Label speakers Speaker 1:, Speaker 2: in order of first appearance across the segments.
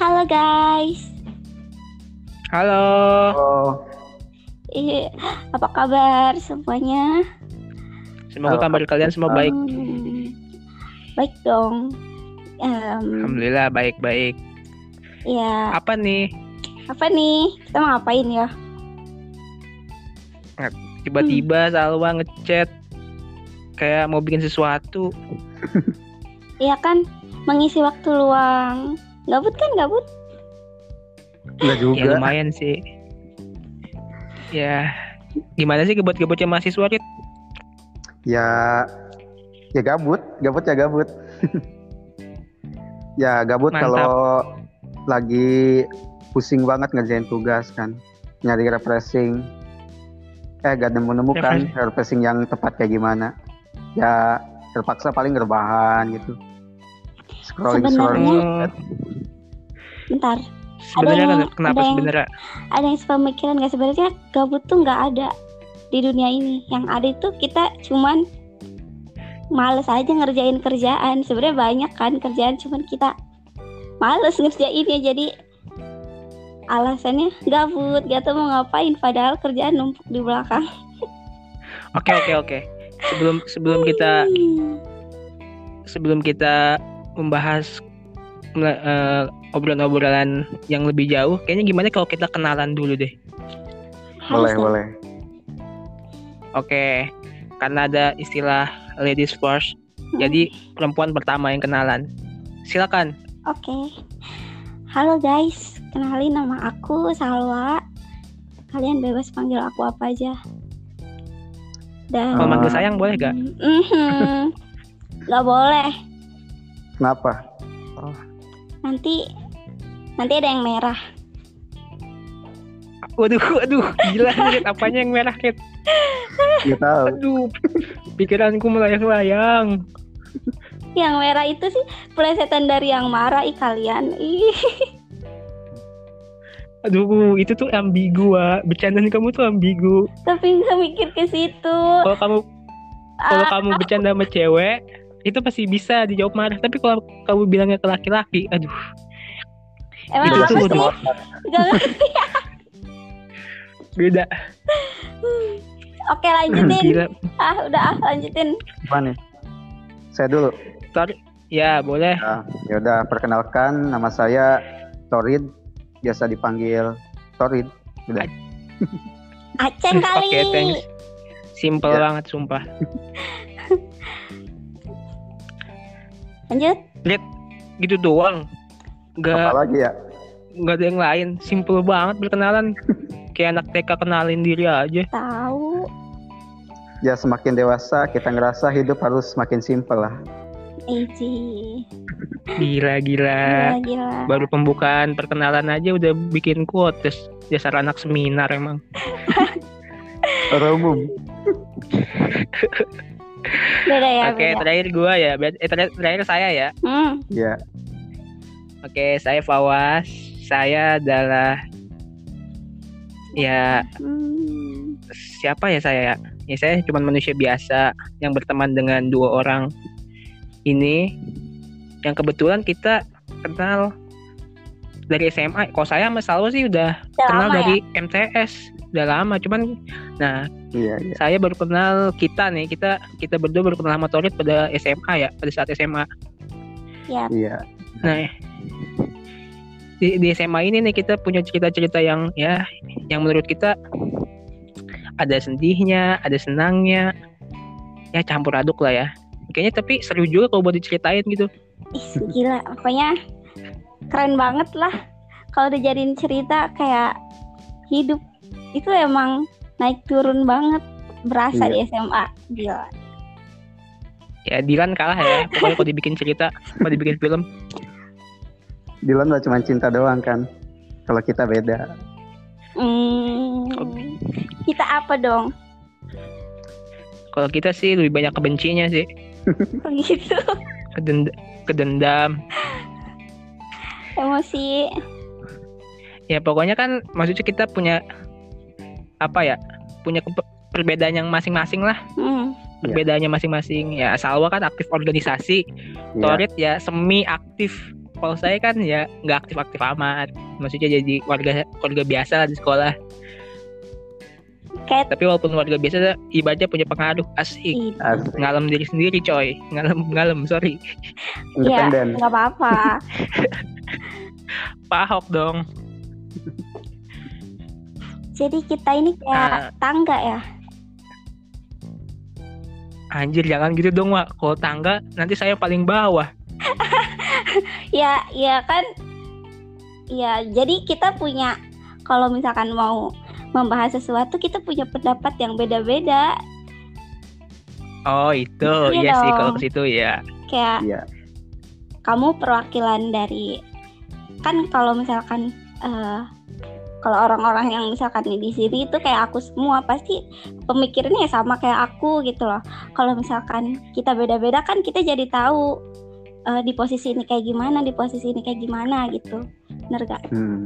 Speaker 1: Halo guys,
Speaker 2: Halo,
Speaker 3: Oh,
Speaker 1: Ih, apa kabar semuanya?
Speaker 2: semoga kabar kalian semua baik.
Speaker 1: Hmm, baik dong. Em,
Speaker 2: Alhamdulillah baik-baik.
Speaker 1: ya
Speaker 2: Apa nih?
Speaker 1: apa nih? Kita mau ngapain ya?
Speaker 2: Tiba-tiba Salwa ngechat kayak mau bikin sesuatu.
Speaker 1: Iya kan, mengisi waktu luang. Gabut kan gabut?
Speaker 3: enggak
Speaker 2: Ya
Speaker 3: juga.
Speaker 2: lumayan sih. Ya, gimana sih gebut-gebutnya mahasiswa Rit?
Speaker 3: Ya, ya gabut, gabut ya gabut. ya gabut
Speaker 2: Mantap.
Speaker 3: kalau lagi pusing banget ngerjain tugas kan, nyari refreshing. Eh gak nemu nemu kan
Speaker 2: Refreshing.
Speaker 3: refreshing yang tepat kayak gimana? Ya terpaksa paling rebahan gitu. Scrolling
Speaker 1: Sebenarnya-
Speaker 3: scrolling.
Speaker 2: Hmm,
Speaker 1: Bentar.
Speaker 2: sebenarnya
Speaker 1: Ada yang-
Speaker 2: kan- kenapa
Speaker 1: ada yang-
Speaker 2: sebenarnya?
Speaker 1: Ada yang sepemikiran nggak sebenarnya gabut tuh nggak ada di dunia ini. Yang ada itu kita cuman males aja ngerjain kerjaan. Sebenarnya banyak kan kerjaan, cuman kita males ngerjainnya jadi alasannya gabut, gak tau mau ngapain padahal kerjaan numpuk di belakang.
Speaker 2: Oke, oke, oke. Sebelum sebelum kita
Speaker 1: Hmm.
Speaker 2: sebelum kita membahas eh, obrolan-obrolan yang lebih jauh, kayaknya gimana kalau kita kenalan dulu deh. Oh.
Speaker 3: Boleh
Speaker 1: Harus dong.
Speaker 3: boleh.
Speaker 2: Oke, karena ada istilah ladies first, jadi perempuan pertama yang kenalan. Silakan.
Speaker 1: Oke. Halo guys, kenalin nama aku Salwa. Kalian bebas panggil aku apa aja. Dan
Speaker 2: Kalau
Speaker 3: Ah.
Speaker 2: manggil sayang boleh gak?
Speaker 1: Mhm. Nggak boleh.
Speaker 3: Kenapa?
Speaker 1: Nanti nanti ada yang merah.
Speaker 2: Waduh, waduh, gila nih, Kit. apanya yang merah Kit?
Speaker 3: Ya tahu.
Speaker 2: Aduh, pikiranku melayang-layang.
Speaker 1: Yang merah itu sih plesetan dari yang marah ih kalian. Ih,
Speaker 2: Aduh, itu tuh ambigu, Wak. Bercandaan kamu tuh ambigu.
Speaker 1: tapi nggak mikir ke situ.
Speaker 2: Kalau kamu kalau
Speaker 1: Ah,
Speaker 2: kamu bercanda sama cewek, itu pasti bisa dijawab marah. Tapi kalau kamu bilangnya ke laki-laki, aduh,
Speaker 1: emang
Speaker 2: itu
Speaker 1: apa
Speaker 2: tuh
Speaker 1: sih?
Speaker 2: udah-
Speaker 1: Nggak-
Speaker 2: beda.
Speaker 1: Oke, lanjutin.
Speaker 2: Gila.
Speaker 1: ah, udah ah, lanjutin.
Speaker 3: Gimana? Saya dulu.
Speaker 2: Ya, boleh.
Speaker 3: Ya, yaudah perkenalkan nama saya Torid, biasa dipanggil Torid.
Speaker 1: Aceng kali.
Speaker 2: Oke, thanks. Simple
Speaker 3: Ya.
Speaker 2: banget, sumpah.
Speaker 1: Lanjut.
Speaker 2: Gitu doang. Gak,
Speaker 3: Apalagi ya?
Speaker 2: nggak ada yang lain. Simple banget berkenalan. Kayak anak TK kenalin diri aja.
Speaker 1: Tahu.
Speaker 3: Ya semakin dewasa kita ngerasa hidup harus semakin simpel lah.
Speaker 1: Eji,
Speaker 2: Gila, gila.
Speaker 1: gila gila.
Speaker 2: Baru pembukaan perkenalan aja udah bikin quotes. Dasar anak seminar emang.
Speaker 3: Orang umum.
Speaker 1: Beda ya,
Speaker 2: Oke,
Speaker 1: beda.
Speaker 2: terakhir gua ya. Ber- Eh, terakhir, terakhir saya ya.
Speaker 1: Hmm,
Speaker 3: Ya,
Speaker 2: Oke, saya Fawas. Saya adalah ya
Speaker 1: hmm.
Speaker 2: siapa ya saya? Ya saya cuma manusia biasa yang berteman dengan dua orang ini yang kebetulan kita kenal dari SMA. Kalau saya sama Salwa sih udah
Speaker 1: Udah
Speaker 2: kenal
Speaker 1: lama
Speaker 2: dari MTS udah lama. Cuman nah
Speaker 3: iya, iya.
Speaker 2: saya baru kenal kita nih kita kita berdua baru kenal sama Torit pada SMA ya pada saat SMA.
Speaker 1: ya. Ya,
Speaker 3: Iya.
Speaker 2: Nah, di, di SMA ini nih kita punya cerita-cerita yang ya, yang menurut kita ada sedihnya, ada senangnya, ya campur aduk lah ya. Kayaknya tapi seru juga kalau buat diceritain gitu.
Speaker 1: Ih, gila. Pokoknya keren banget lah. Kalau dijadiin cerita kayak hidup itu emang naik turun banget berasa
Speaker 3: Iya.
Speaker 1: di SMA. Gila.
Speaker 2: Ya Dilan kalah ya, pokoknya kalau dibikin cerita, kalau dibikin film.
Speaker 3: Dilan mah cuma cinta doang kan. Kalau kita beda.
Speaker 1: Hmm.
Speaker 2: Oke.
Speaker 1: Kita apa dong?
Speaker 2: Kalau kita sih lebih banyak kebencinya sih,
Speaker 1: Kok Gitu.
Speaker 2: kedend kedendam.
Speaker 1: Emosi.
Speaker 2: Ya pokoknya kan maksudnya kita punya apa ya? Punya kepe- perbedaan yang masing-masing lah,
Speaker 1: Hmm.
Speaker 2: perbedaannya masing-masing. Ya Salwa kan aktif organisasi,
Speaker 3: Iya.
Speaker 2: Torit ya semi aktif kalau saya kan ya nggak aktif-aktif amat maksudnya jadi warga warga biasa lah di sekolah
Speaker 1: Kayak-
Speaker 2: tapi walaupun warga biasa ibadah punya pengaruh asik
Speaker 1: Ih,
Speaker 3: Asik.
Speaker 2: ngalem diri sendiri coy ngalem ngalem sorry
Speaker 1: Iya,
Speaker 3: Independen.
Speaker 1: nggak apa-apa.
Speaker 2: Pak Ahok dong
Speaker 1: Jadi kita ini kayak tangga ya.
Speaker 2: anjir jangan gitu dong Wak kalau tangga nanti saya paling bawah
Speaker 1: Ya, ya kan. Ya, jadi kita punya kalau misalkan mau membahas sesuatu kita punya pendapat yang beda-beda.
Speaker 2: oh itu
Speaker 1: Iya
Speaker 2: iya sih
Speaker 1: dong.
Speaker 2: kalau ke situ ya
Speaker 1: Kayak
Speaker 3: Iya.
Speaker 1: kamu perwakilan dari kan kalau misalkan eh, kalau orang-orang yang misalkan di sini itu kayak aku semua pasti pemikirannya ya sama kayak aku gitu loh. Kalau misalkan kita beda-beda kan kita jadi tahu eh, di posisi ini kayak gimana, di posisi ini kayak gimana gitu. Bener gak?
Speaker 3: Hmm.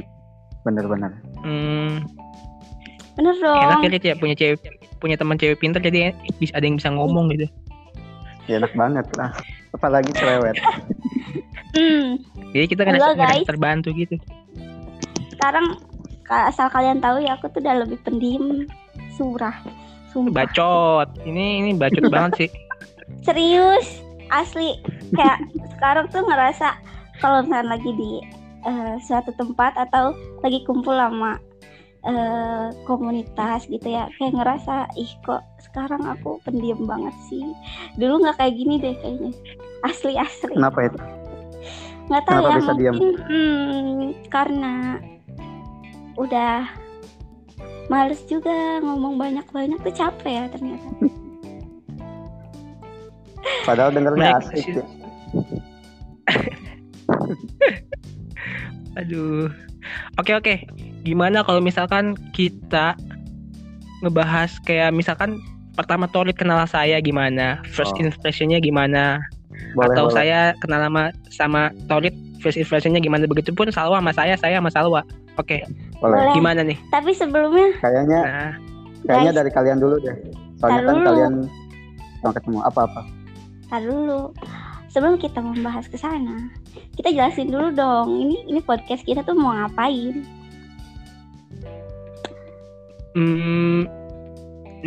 Speaker 3: Bener-bener.
Speaker 2: hmm,
Speaker 1: Bener dong.
Speaker 2: enak ya Rit, ya punya cewek punya teman cewek pintar jadi bisa ada yang bisa ngomong gitu
Speaker 3: Ya, enak banget lah. Apalagi cerewet.
Speaker 1: Hmm.
Speaker 2: jadi kita kan
Speaker 1: Halo, guys.
Speaker 2: terbantu gitu
Speaker 1: Sekarang ka- asal kalian tahu ya aku tuh udah lebih pendiam surah. Sumpah.
Speaker 2: bacot ini ini bacot banget sih
Speaker 1: Serius, asli kayak sekarang tuh ngerasa kalau misalnya lagi di eh, suatu tempat atau lagi kumpul sama eh, komunitas gitu ya kayak ngerasa ih kok sekarang aku pendiam banget sih dulu nggak kayak gini deh kayaknya asli asli
Speaker 3: Kenapa itu?
Speaker 1: nggak tahu
Speaker 3: Kenapa
Speaker 1: ya
Speaker 3: bisa diam?
Speaker 1: mungkin hmm, karena udah males juga ngomong banyak-banyak tuh capek ya ternyata
Speaker 3: Padahal
Speaker 2: Mereka-
Speaker 3: dengernya asik. ya.
Speaker 2: aduh oke oke gimana kalau misalkan kita ngebahas kayak misalkan pertama Torit kenal saya gimana first
Speaker 3: Oh.
Speaker 2: impressionnya gimana
Speaker 3: Boleh,
Speaker 2: atau
Speaker 3: boleh.
Speaker 2: saya kenal sama sama Torit first impressionnya gimana begitu pun Salwa sama saya saya sama Salwa oke
Speaker 3: Boleh.
Speaker 1: Boleh.
Speaker 2: gimana nih
Speaker 1: tapi sebelumnya
Speaker 3: Kayaknya
Speaker 2: nah
Speaker 3: kayaknya
Speaker 1: Guys.
Speaker 3: dari kalian dulu deh. Soalnya
Speaker 1: Ntar
Speaker 3: kan
Speaker 1: dulu.
Speaker 3: kalian sama ketemu apa-apa.
Speaker 1: tar dulu sebelum kita membahas ke sana kita jelasin dulu dong ini ini podcast kita tuh mau ngapain
Speaker 2: hmm,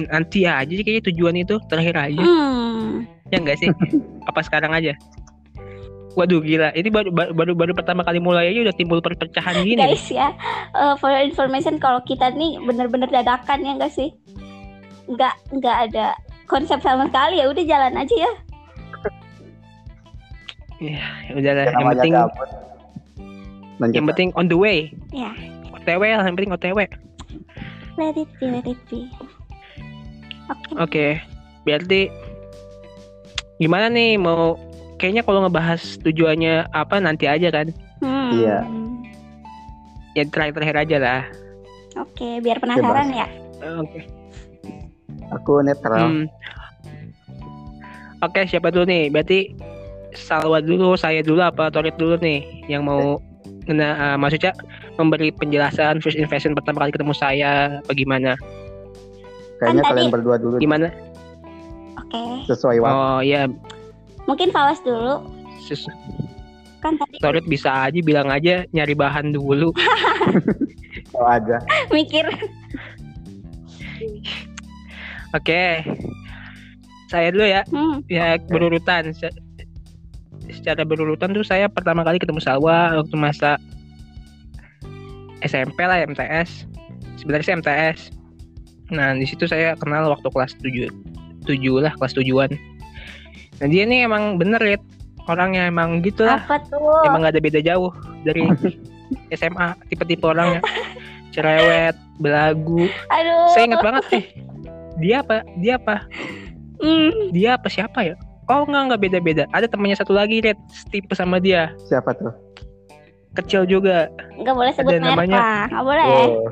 Speaker 2: nanti aja sih kayaknya tujuan itu terakhir aja
Speaker 1: hmm
Speaker 2: ya enggak sih apa sekarang aja waduh gila ini baru baru baru, baru pertama kali mulai aja udah timbul perpecahan gini
Speaker 1: guys ya eh, for your information kalau kita nih bener-bener dadakan ya enggak sih nggak nggak ada konsep sama sekali ya udah jalan aja ya
Speaker 2: Ya udah lah yang
Speaker 3: namanya
Speaker 2: penting
Speaker 3: gabut. Lanjut.
Speaker 2: yang penting on the way
Speaker 1: Iya.
Speaker 2: otw lah yang penting otw oke
Speaker 1: let it be let it be oke
Speaker 2: berarti gimana nih mau kayaknya kalau ngebahas tujuannya apa nanti aja kan
Speaker 1: Hmm.
Speaker 3: Iya.
Speaker 2: ya terakhir terakhir aja lah
Speaker 1: Oke, biar penasaran ya.
Speaker 2: oke
Speaker 3: aku netral.
Speaker 2: Hmm. oke siapa dulu nih berarti Salwa dulu saya dulu apa Torit dulu nih yang mau kena eh, maksudnya memberi penjelasan first impression pertama kali ketemu saya bagaimana
Speaker 3: Kayaknya
Speaker 1: Kan
Speaker 3: kalian
Speaker 1: tadi-
Speaker 3: berdua dulu deh,
Speaker 2: gimana
Speaker 1: Oke.
Speaker 3: sesuai waktu.
Speaker 2: oh ya
Speaker 1: Mungkin Fawas dulu
Speaker 2: sus
Speaker 1: kan tadi
Speaker 2: Torit bisa aja bilang aja nyari bahan dulu.
Speaker 3: Tahu aja.
Speaker 1: mikir.
Speaker 2: Oke. Saya dulu ya,
Speaker 1: Hmm.
Speaker 2: ya berurutan. Se- Secara berurutan tuh saya pertama kali ketemu Salwa waktu masa SMP lah ya, MTS. Sebenarnya sih MTS. Nah, di situ saya kenal waktu kelas 7. 7 lah, kelas tujuan. Nah, dia nih emang bener ya orangnya emang gitu lah.
Speaker 1: Apa tuh?
Speaker 2: emang gak ada beda jauh dari SMA tipe-tipe orangnya cerewet belagu
Speaker 1: Aduh.
Speaker 2: saya ingat banget eh dia apa dia apa
Speaker 1: Hmm.
Speaker 2: dia apa siapa ya oh nggak nggak beda beda ada temannya satu lagi red tipe sama dia
Speaker 3: Siapa tuh?
Speaker 2: kecil juga
Speaker 1: Nggak boleh sebut
Speaker 2: Ada
Speaker 1: merek
Speaker 2: namanya.
Speaker 1: lah. Nggak boleh.
Speaker 3: Oh,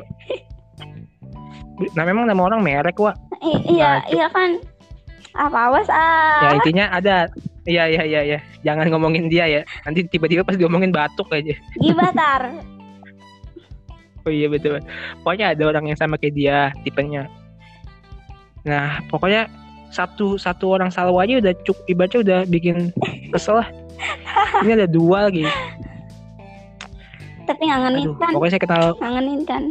Speaker 2: nah memang nama orang merek wah
Speaker 1: I- iya,
Speaker 2: Ngaco.
Speaker 1: iya kan. Ah, Fawas
Speaker 2: Nah, ya
Speaker 1: ah.
Speaker 2: intinya ada Iya iya iya ya. Jangan ngomongin dia ya. Nanti tiba-tiba pas diomongin batuk aja.
Speaker 1: Gibatar.
Speaker 2: Oh iya betul. Pokoknya ada orang yang sama kayak dia tipenya. Nah, pokoknya satu satu orang salwa aja udah cukup ibaratnya udah bikin kesel lah. Ini ada dua lagi.
Speaker 1: tapi ngangenin
Speaker 2: Aduh,
Speaker 1: kan
Speaker 2: pokoknya saya kenal
Speaker 1: ngangenin kan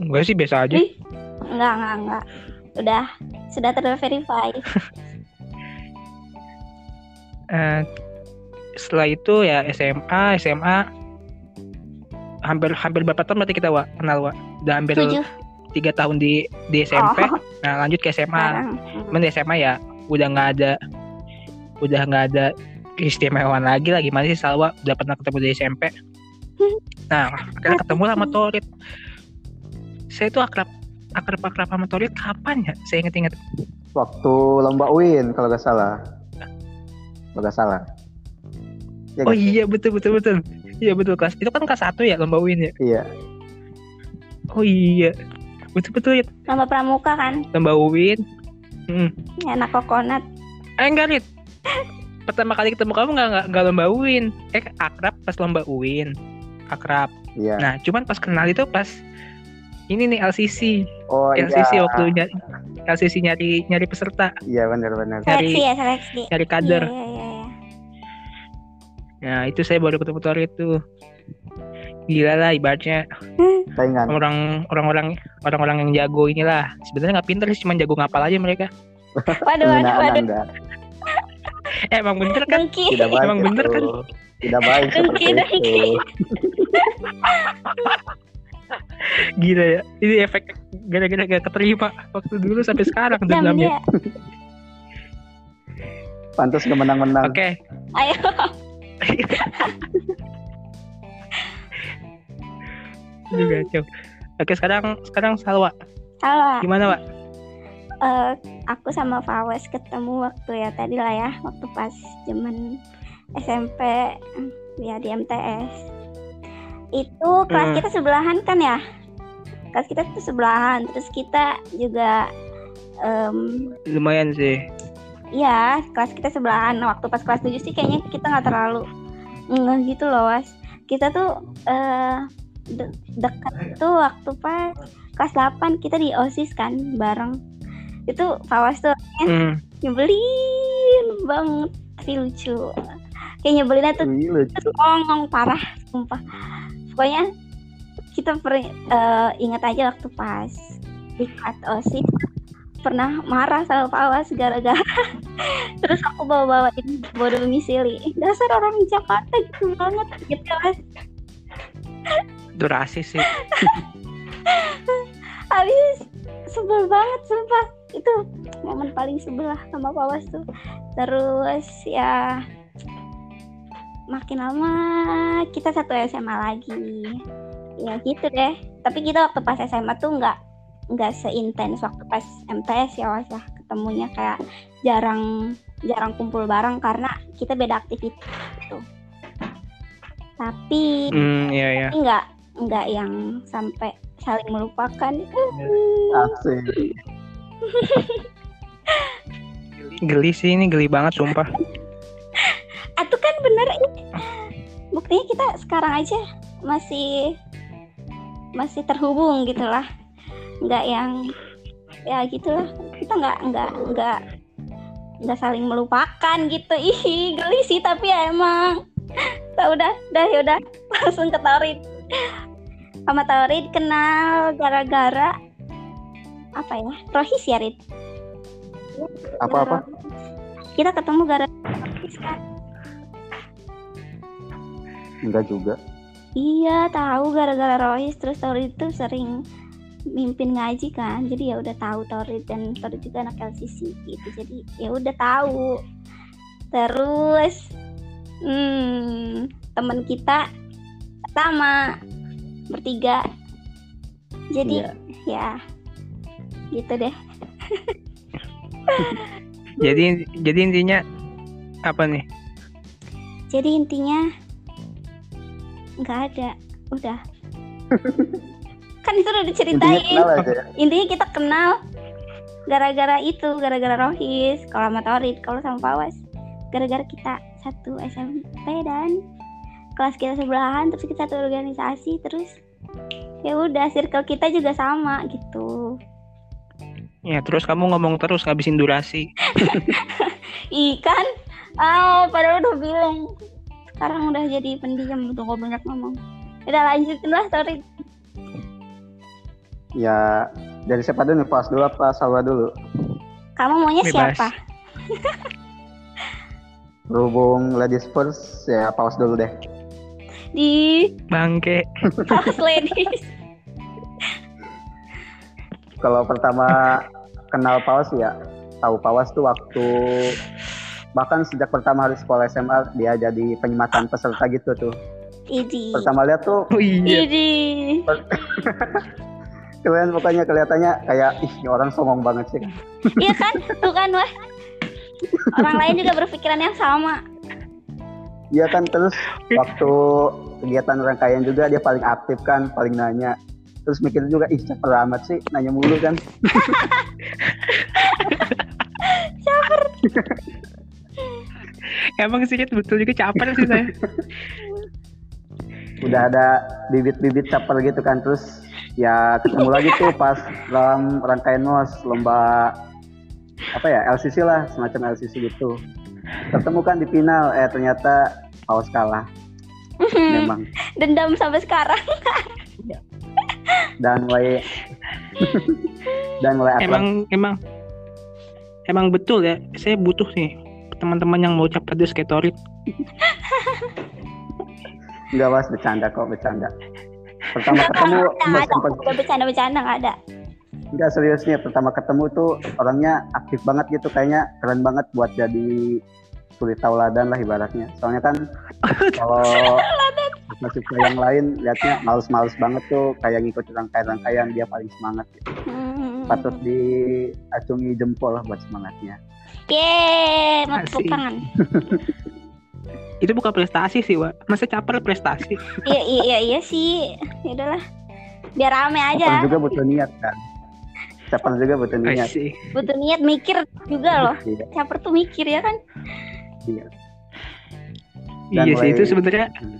Speaker 2: enggak sih biasa aja.
Speaker 1: Ih. enggak enggak enggak udah sudah terverify
Speaker 2: Eh, setelah itu ya SMA, SMA hampir hampir berapa tahun berarti kita wa kenal wa? Udah hampir
Speaker 1: tujuh
Speaker 2: tiga tahun di di SMP.
Speaker 1: oh
Speaker 2: Nah lanjut ke SMA.
Speaker 1: sekarang Hmm.
Speaker 2: Cuman di SMA ya udah nggak ada udah nggak ada keistimewaan lagi lah gimana sih Salwa udah pernah ketemu di SMP. Nah akhirnya ketemu lah sama
Speaker 1: Iya.
Speaker 2: Torit. Saya tuh akrab akrab akrab sama Torit kapan ya? Saya inget-inget
Speaker 3: Iya, Waktu lomba UIN kalau nggak salah. Kalau nggak salah. Ya,
Speaker 2: Oh
Speaker 3: nggak sih?
Speaker 2: iya betul betul betul. Iya betul kelas. Itu kan kelas 1 ya lomba UIN ya.
Speaker 3: Iya.
Speaker 2: Oh iya. Betul betul ya
Speaker 1: lomba pramuka kan
Speaker 2: lomba UIN. Hmm.
Speaker 1: ya, anak kokonat
Speaker 2: Eh enggak Rit. Pertama kali ketemu kamu enggak enggak, enggak lomba UIN. Eh akrab pas lomba UIN. Akrab.
Speaker 3: Iya.
Speaker 2: Nah, cuman pas kenal itu pas ini nih LCC.
Speaker 3: Oh iya.
Speaker 2: LCC waktu nyari, LCC nyari nyari peserta,
Speaker 3: Iya benar-benar.
Speaker 2: Dari-
Speaker 1: seleksi ya seleksi
Speaker 2: nyari kader.
Speaker 1: Iya, iya, iya.
Speaker 2: Nah, itu saya baru ketemu Tori itu. Gila lah ibaratnya
Speaker 3: Saingan.
Speaker 2: orang orang-orang orang-orang yang jago inilah. Sebenarnya nggak pinter sih, cuma jago ngapal aja mereka.
Speaker 3: Nah,
Speaker 1: waduh waduh
Speaker 3: Penghinaan
Speaker 1: waduh
Speaker 3: Anda.
Speaker 2: Eh, emang bener kan?
Speaker 1: dengki
Speaker 3: nah. Tidak baik.
Speaker 2: Emang bener
Speaker 3: itu.
Speaker 2: kan?
Speaker 3: Tidak baik seperti
Speaker 1: Dengki, dengki.
Speaker 3: itu.
Speaker 2: Gila ya. Ini efek gara-gara gak keterima waktu dulu sampai sekarang
Speaker 1: jam
Speaker 2: ya.
Speaker 1: ya.
Speaker 2: dendamnya.
Speaker 1: dia
Speaker 3: Pantas kemenang-menang.
Speaker 2: Oke.
Speaker 1: ayo
Speaker 2: Aduh, kacau. Oke, sekarang sekarang Salwa.
Speaker 1: halo
Speaker 2: Gimana, Pak?
Speaker 1: Eh, aku sama Fawes ketemu waktu ya tadi lah ya waktu pas zaman SMP ya di MTS itu kelas
Speaker 2: Hmm.
Speaker 1: kita sebelahan kan ya kelas kita tuh sebelahan terus kita juga em,
Speaker 2: Lumayan sih.
Speaker 1: ya kelas kita sebelahan Nah, waktu pas kelas 7 sih kayaknya kita nggak terlalu nggak gitu loh was kita tuh eh de- dekat itu waktu pas kelas 8 kita di osis kan bareng itu Fawas tuh
Speaker 2: Hmm.
Speaker 1: nyebelin banget tapi lucu kayak nyebelinnya tuh
Speaker 3: Wih, lucu.
Speaker 1: terus ngomong parah sumpah pokoknya kita per, eh, ingat aja waktu pas di kelas osis pernah marah sama Fawas gara-gara terus aku bawa-bawain bawa domisili dasar orang Jakarta gitu banget gitu mas
Speaker 2: Itu rasis sih.
Speaker 1: habis sebel banget sumpah itu momen paling sebelah sama Pawas tuh terus ya makin lama kita satu SMA lagi ya gitu deh tapi kita waktu pas SMA tuh nggak nggak seintens waktu pas MTS ya was lah ketemunya kayak jarang jarang kumpul bareng karena kita beda aktivitas gitu tapi
Speaker 2: Hmm, iya iya.
Speaker 1: tapi nggak nggak yang sampai saling melupakan
Speaker 3: Iya. Asik.
Speaker 2: Geli sih ini geli banget sumpah.
Speaker 1: atau kan bener ini buktinya kita sekarang aja masih masih terhubung gitulah nggak yang ya gitulah kita nggak nggak nggak nggak saling melupakan gitu ih geli sih tapi ya emang tak udah udah yaudah langsung ke Taurid sama Taurid kenal gara-gara apa ya Rohis ya Rid
Speaker 3: Apa-apa?
Speaker 1: kita ketemu gara-gara Rohis kan
Speaker 3: Enggak juga.
Speaker 1: Iya tahu gara-gara Rohis terus Torit itu sering mimpin ngaji kan jadi ya udah tahu Torit dan Torit juga anak LCC gitu jadi ya udah tahu terus hmm, teman kita sama bertiga jadi
Speaker 3: Iya.
Speaker 1: ya gitu deh
Speaker 2: Jadi jadi intinya apa nih?
Speaker 1: jadi intinya nggak ada udah kan itu udah
Speaker 3: Intinya
Speaker 1: diceritain
Speaker 3: kenal aja. ya.
Speaker 1: intinya kita kenal gara-gara itu gara-gara Rohis kalau sama Torit kalau sama Fawas gara-gara kita satu SMP dan kelas kita sebelahan terus kita satu organisasi terus ya udah circle kita juga sama gitu
Speaker 2: Ya terus kamu ngomong terus ngabisin durasi.
Speaker 1: kan? ikan oh padahal udah Ah, bilang sekarang udah jadi pendiam tuh kok banyak ngomong udah lanjutin lah sorry
Speaker 3: Ya dari siapa dulu nih? Pas dulu apa Salwa dulu?
Speaker 1: kamu maunya
Speaker 2: Bebas.
Speaker 1: siapa
Speaker 3: Berhubung ladies first ya pause dulu deh.
Speaker 1: di
Speaker 2: Bangke.
Speaker 1: house ladies
Speaker 3: Kalau pertama kenal Pawas ya tahu Pawas tuh waktu bahkan sejak pertama hari sekolah SMA dia jadi penyematan peserta gitu tuh.
Speaker 1: idi
Speaker 3: Pertama lihat tuh
Speaker 2: Oh iya.
Speaker 1: idi
Speaker 3: kalian pokoknya kelihatannya kayak ih ini orang songong banget sih.
Speaker 1: iya kan tuh kan wah orang lain juga berpikiran yang sama
Speaker 3: Iya kan terus waktu kegiatan rangkaian juga dia paling aktif kan, paling nanya. Terus mikir juga ih caper amat sih nanya mulu kan.
Speaker 2: Emang sih Cit, betul juga caper sih saya.
Speaker 3: udah ada bibit-bibit caper gitu kan terus ya ketemu lagi tuh pas dalam rangkaian nos lomba apa ya LCC lah semacam LCC gitu ketemu kan di final eh ternyata Paus kalah
Speaker 1: Mhm.
Speaker 3: memang
Speaker 1: dendam sampai sekarang
Speaker 3: dan mulai dan mulai atlet
Speaker 2: Emang emang emang betul ya. Saya butuh nih teman-teman yang mau cap pedes kayak Torik.
Speaker 3: nggak was bercanda kok bercanda pertama ketemu
Speaker 1: nggak ada
Speaker 3: Nah, sempat
Speaker 1: udah bercanda bercanda nggak ada
Speaker 3: Enggak serius nih, pertama ketemu tuh orangnya aktif banget gitu, kayaknya keren banget buat jadi kulit tauladan lah ibaratnya. Soalnya kan kalau mahasiswa yang lain lihatnya males-males banget tuh, kayak ngikutin rangkaian-rangkaian dia paling semangat. Gitu.
Speaker 1: Mhm.
Speaker 3: Patut diacungi jempol lah buat semangatnya.
Speaker 1: Yeay, mau tepuk
Speaker 2: Asik.
Speaker 1: tangan.
Speaker 2: Itu bukan prestasi sih, Wak. Masa caper prestasi?
Speaker 1: Iya, iya, iya, iya sih. Ya udahlah. Biar rame
Speaker 3: Caper
Speaker 1: aja.
Speaker 3: juga butuh niat kan. Caper juga butuh
Speaker 2: I
Speaker 3: niat.
Speaker 2: see.
Speaker 1: Butuh niat mikir juga loh.
Speaker 3: Iya,
Speaker 1: Caper tuh mikir ya kan.
Speaker 3: iya. Dan
Speaker 2: Iya sih
Speaker 3: mulai-
Speaker 2: itu sebenarnya.
Speaker 3: Hmm.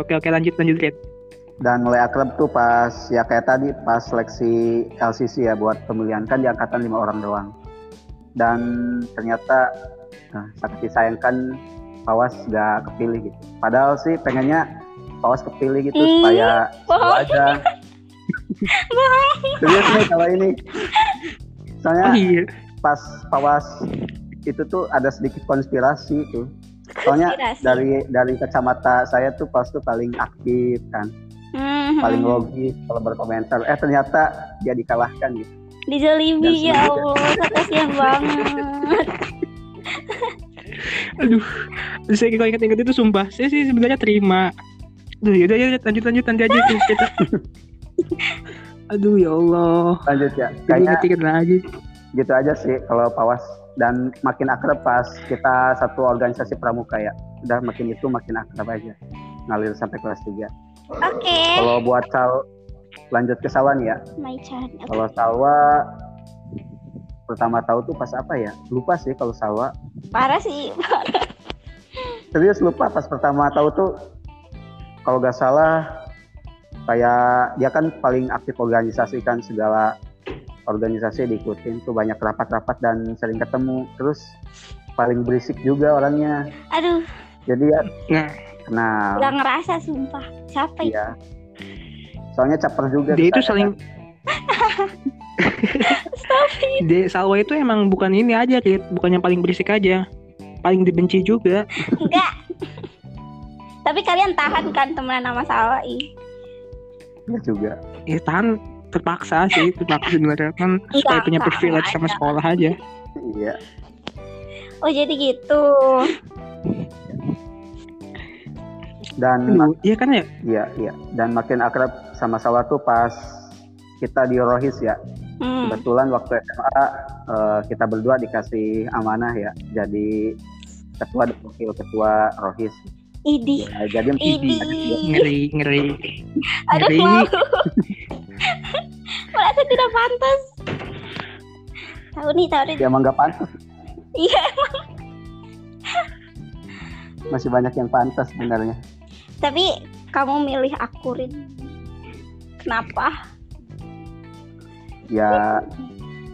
Speaker 2: Oke oke lanjut lanjut Red.
Speaker 3: Dan mulai akrab tuh pas ya kayak tadi pas seleksi LCC ya buat pemilihan kan di angkatan lima orang doang. Dan ternyata nah, sangat disayangkan Pawas gak kepilih gitu. Padahal sih pengennya Pawas kepilih gitu
Speaker 1: Ih,
Speaker 3: supaya seru
Speaker 1: bohong.
Speaker 3: aja. Serius nih kalau ini. Soalnya
Speaker 2: Oh iya.
Speaker 3: pas Pawas itu tuh ada sedikit konspirasi tuh. Soalnya
Speaker 1: Konspirasi.
Speaker 3: dari dari kacamata saya tuh Pawas tuh paling aktif kan
Speaker 1: Mhm.
Speaker 3: paling logis kalau berkomentar eh ternyata dia dikalahkan gitu
Speaker 1: Dijolimi
Speaker 3: Dan
Speaker 1: ya
Speaker 3: semuanya.
Speaker 1: Allah, kasihan banget.
Speaker 2: Terus saya kalau ingat-ingat itu sumpah saya sih sebenarnya terima. Aduh yaudah ya lanjut lanjut nanti aja tuh kita. Aduh ya Allah.
Speaker 3: lanjut ya
Speaker 2: Jadi
Speaker 3: kayaknya
Speaker 2: inget-inget lagi.
Speaker 3: gitu aja sih kalau pawas dan makin akrab pas kita satu organisasi pramuka ya udah makin itu makin akrab aja ngalir sampai kelas 3
Speaker 1: Oke,
Speaker 3: kalau buat sal lanjut ke sawan ya
Speaker 1: my turn. Oke.
Speaker 3: kalau salwa pertama tahu tuh pas apa ya lupa sih kalau salwa
Speaker 1: Parah sih.
Speaker 3: serius lupa pas pertama tahu tuh kalau gak salah kayak dia kan paling aktif organisasi kan segala organisasi diikutin tuh banyak rapat-rapat dan sering ketemu terus paling berisik juga orangnya
Speaker 1: Aduh,
Speaker 3: jadi ya
Speaker 2: Nah
Speaker 3: kenal
Speaker 1: nggak ngerasa sumpah. Siapa itu?
Speaker 3: iya soalnya caper juga
Speaker 2: dia itu
Speaker 3: kita.
Speaker 2: saling dia Salwa itu emang bukan ini aja Rit bukan yang paling berisik aja paling dibenci juga
Speaker 1: Enggak. Tapi kalian tahan kan temenan sama Salwa ih.
Speaker 3: Iya juga
Speaker 2: ya tahan terpaksa sih terpaksa sebenarnya kan supaya punya
Speaker 1: Enggak,
Speaker 2: privilege
Speaker 1: enggak
Speaker 2: sama
Speaker 1: ada.
Speaker 2: sekolah aja
Speaker 3: iya
Speaker 1: Oh jadi gitu.
Speaker 3: dan
Speaker 2: Aduh, iya kan ya
Speaker 3: iya iya dan makin akrab sama Salwa tuh pas kita di Rohis ya
Speaker 1: Hmm.
Speaker 3: Kebetulan waktu SMA eh, kita berdua dikasih amanah ya jadi ketua dan wakil ketua rohis.
Speaker 1: Idih.
Speaker 3: Ya, jadi
Speaker 1: Idi.
Speaker 2: ngeri ngeri
Speaker 1: Aduh
Speaker 2: ngeri
Speaker 1: malu. Merasa tidak pantas. Tahu nih, tahu nih.
Speaker 3: ya emang gak pantas.
Speaker 1: Iya.
Speaker 3: Masih banyak yang pantas sebenarnya.
Speaker 1: Tapi kamu milih aku Rin. Kenapa?
Speaker 3: Ya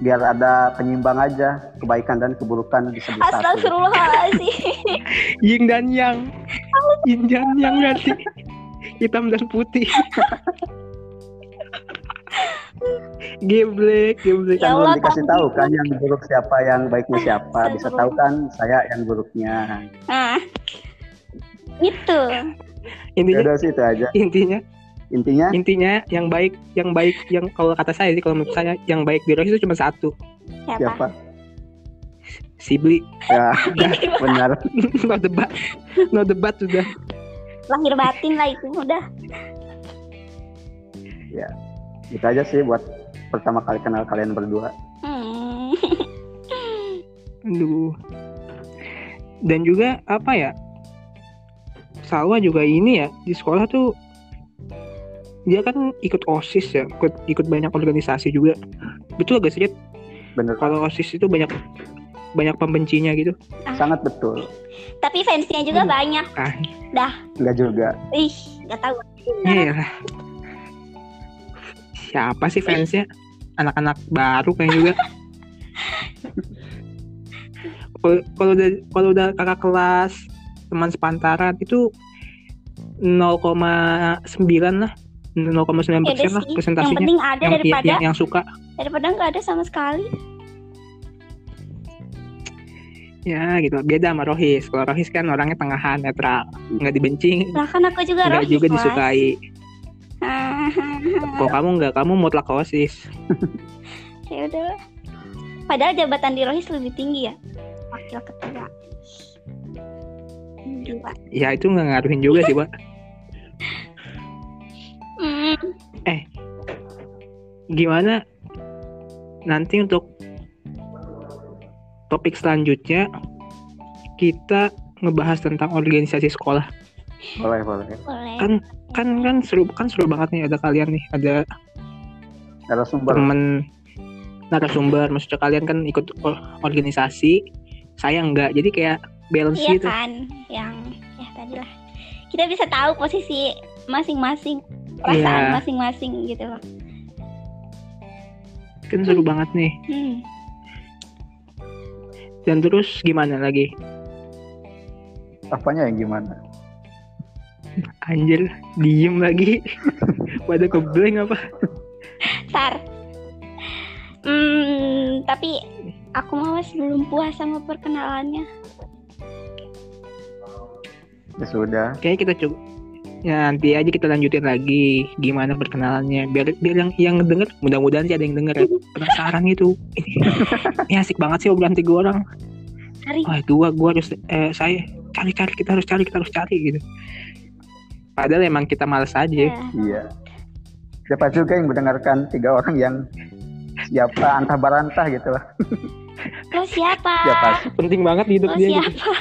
Speaker 3: biar ada penyimbang aja kebaikan dan keburukan di sebelah satu.
Speaker 1: Astagfirullahaladzim.
Speaker 2: ying dan yang Yin dan yang berarti hitam dan putih. geblek, geblek.
Speaker 1: Ya
Speaker 3: Kan belum
Speaker 1: Allah,
Speaker 3: dikasih
Speaker 1: tapi-
Speaker 3: tahu kan yang buruk siapa, yang baiknya siapa. Bisa tahu kan saya yang buruknya.
Speaker 1: Nah, gitu.
Speaker 2: Intinya,
Speaker 3: Yaudah sih itu Ya aja.
Speaker 2: intinya,
Speaker 3: Intinya
Speaker 2: intinya yang baik, yang baik, yang kalau kata saya sih kalau menurut saya yang baik di Rocky itu cuma satu,
Speaker 1: Siapa?
Speaker 3: siapa?
Speaker 2: Sibli.
Speaker 3: Ya, benar.
Speaker 2: no debat, no debat sudah.
Speaker 1: Lahir batin lah itu udah.
Speaker 3: Itu Gitu aja sih buat pertama kali kenal kalian berdua.
Speaker 1: Hmm.
Speaker 2: Aduh. Dan juga apa ya? Salwa juga ini ya di sekolah tuh dia kan ikut osis ya, ikut, ikut banyak organisasi juga. Betul gak sih? Jet?
Speaker 3: Bener. kan?
Speaker 2: Kalau osis itu banyak banyak pembencinya gitu.
Speaker 3: Sangat betul.
Speaker 1: Tapi fansnya juga
Speaker 2: Hmm.
Speaker 1: banyak.
Speaker 3: Enggak juga.
Speaker 1: Ih, nggak tahu.
Speaker 2: Iya. Siapa sih fansnya? Anak-anak baru kayak juga. Kalau- Kalau udah kalau udah kakak kelas teman sepantaran itu 0,9 lah 0,9
Speaker 1: Ya
Speaker 2: persen
Speaker 1: udah
Speaker 2: lah
Speaker 1: sih. Yang
Speaker 2: presentasinya
Speaker 1: penting ada
Speaker 2: yang, yang,
Speaker 1: daripada
Speaker 2: yang- yang suka
Speaker 1: daripada nggak ada sama sekali.
Speaker 2: ya gitu beda sama Rohis kalau Rohis kan orangnya tengahan netral nggak dibenci
Speaker 1: Lah kan aku juga
Speaker 2: nggak
Speaker 1: rohis.
Speaker 2: juga
Speaker 1: Mas.
Speaker 2: disukai
Speaker 1: Ah,
Speaker 2: kalau kamu nggak kamu mutlak osis
Speaker 1: ya udah. Padahal jabatan di rohis lebih tinggi ya. Wakil ketua. Hmm, Gila.
Speaker 2: ya itu nggak ngaruhin juga
Speaker 1: Iya
Speaker 2: sih Wak.
Speaker 1: Hmm.
Speaker 2: gimana nanti untuk topik selanjutnya kita ngebahas tentang organisasi sekolah
Speaker 3: Boleh, boleh.
Speaker 1: Boleh.
Speaker 2: Kan- kan kan seru kan seru banget nih ada kalian nih ada
Speaker 3: Narasumber.
Speaker 2: temen narasumber maksudnya kalian kan ikut o- organisasi saya enggak jadi kayak balance
Speaker 1: Iya
Speaker 2: gitu
Speaker 1: kan, yang ya tadi lah. Kita bisa tahu posisi masing-masing,
Speaker 2: Iya.
Speaker 1: perasaan masing-masing gitu loh.
Speaker 2: kan seru banget nih
Speaker 1: Hmm.
Speaker 2: dan terus gimana lagi
Speaker 3: Apanya yang gimana?
Speaker 2: anjir diem lagi pada kebleng apa
Speaker 1: Tar. Hmm, tapi aku mawas belum puas sama perkenalannya.
Speaker 3: Ya sudah.
Speaker 2: Kayaknya kita coba ya, nanti aja kita lanjutin lagi gimana perkenalannya biar biar yang yang denger mudah-mudahan sih ada yang denger ya. penasaran gitu ini asik banget sih obrolan tiga orang
Speaker 1: Hari
Speaker 2: wah gua gua harus eh, saya cari cari kita harus cari kita harus cari gitu padahal emang kita males aja
Speaker 1: ya.
Speaker 3: Iya. Siapa juga yang mendengarkan tiga orang yang siapa antah barantah gitu lah.
Speaker 1: Lo siapa?
Speaker 3: Siapa sih?
Speaker 2: penting banget di hidup
Speaker 1: Lo
Speaker 2: dia gitu.
Speaker 1: siapa?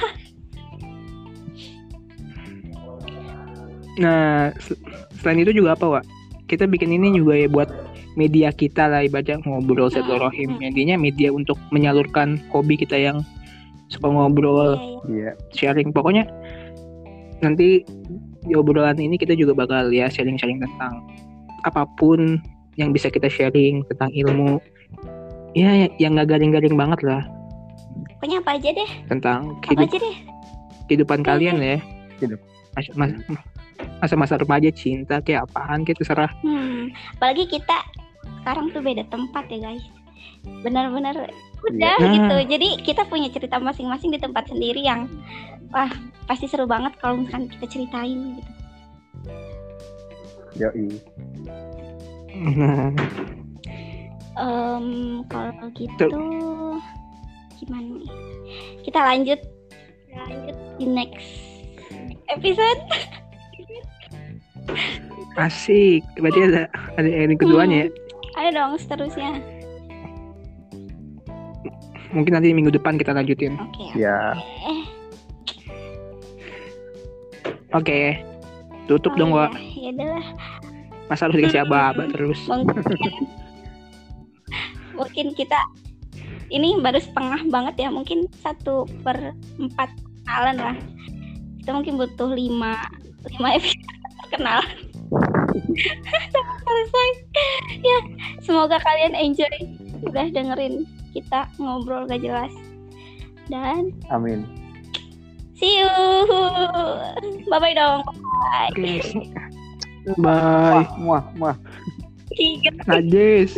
Speaker 2: nah sel- selain itu juga apa Wak? kita bikin ini juga ya buat media kita lah ibaratnya ngobrol silaturahim jadinya media untuk menyalurkan hobi kita yang suka
Speaker 1: Iya,
Speaker 2: ngobrol
Speaker 1: iya.
Speaker 3: Iya.
Speaker 2: sharing pokoknya nanti di obrolan ini kita juga bakal ya sharing-sharing tentang apapun yang bisa kita sharing tentang ilmu ya yang nggak garing-garing banget lah
Speaker 1: Pokoknya apa aja deh,
Speaker 2: tentang
Speaker 1: apa
Speaker 2: kehidup-
Speaker 1: aja deh.
Speaker 2: kehidupan kalian ya
Speaker 3: Hidup.
Speaker 2: Mas- mas- masa-masa remaja cinta kayak apaan kayak terserah
Speaker 1: Hmm. Apalagi kita sekarang tuh beda tempat ya guys. Benar-benar udah
Speaker 2: Iya.
Speaker 1: gitu. Jadi kita punya cerita masing-masing di tempat sendiri yang wah pasti seru banget kalau misalkan kita ceritain gitu.
Speaker 3: Yoi.
Speaker 2: Nah,
Speaker 1: Em, kalau gitu gimana nih? Kita lanjut kita lanjut di next episode.
Speaker 2: asik berarti ada ada yang keduanya ya
Speaker 1: Ayo dong seterusnya.
Speaker 2: mungkin nanti minggu depan kita lanjutin
Speaker 1: Oke.
Speaker 3: Ya.
Speaker 1: oke.
Speaker 2: oke tutup
Speaker 1: Oh,
Speaker 2: dong
Speaker 1: iya.
Speaker 2: Wak
Speaker 1: Ya udah lah.
Speaker 2: masa harus dikasih aba-aba terus
Speaker 1: Mungkin mungkin kita ini baru setengah banget ya mungkin satu per empat kenalan lah kita mungkin butuh lima lima episode perkenalan Sampai selesai ya semoga kalian enjoy udah dengerin kita ngobrol gak jelas dan
Speaker 3: Amin.
Speaker 1: See you. Bye bye dong. Bye.
Speaker 2: Bye.
Speaker 3: Muah, muah, muah.
Speaker 1: Tiga.
Speaker 2: Najis.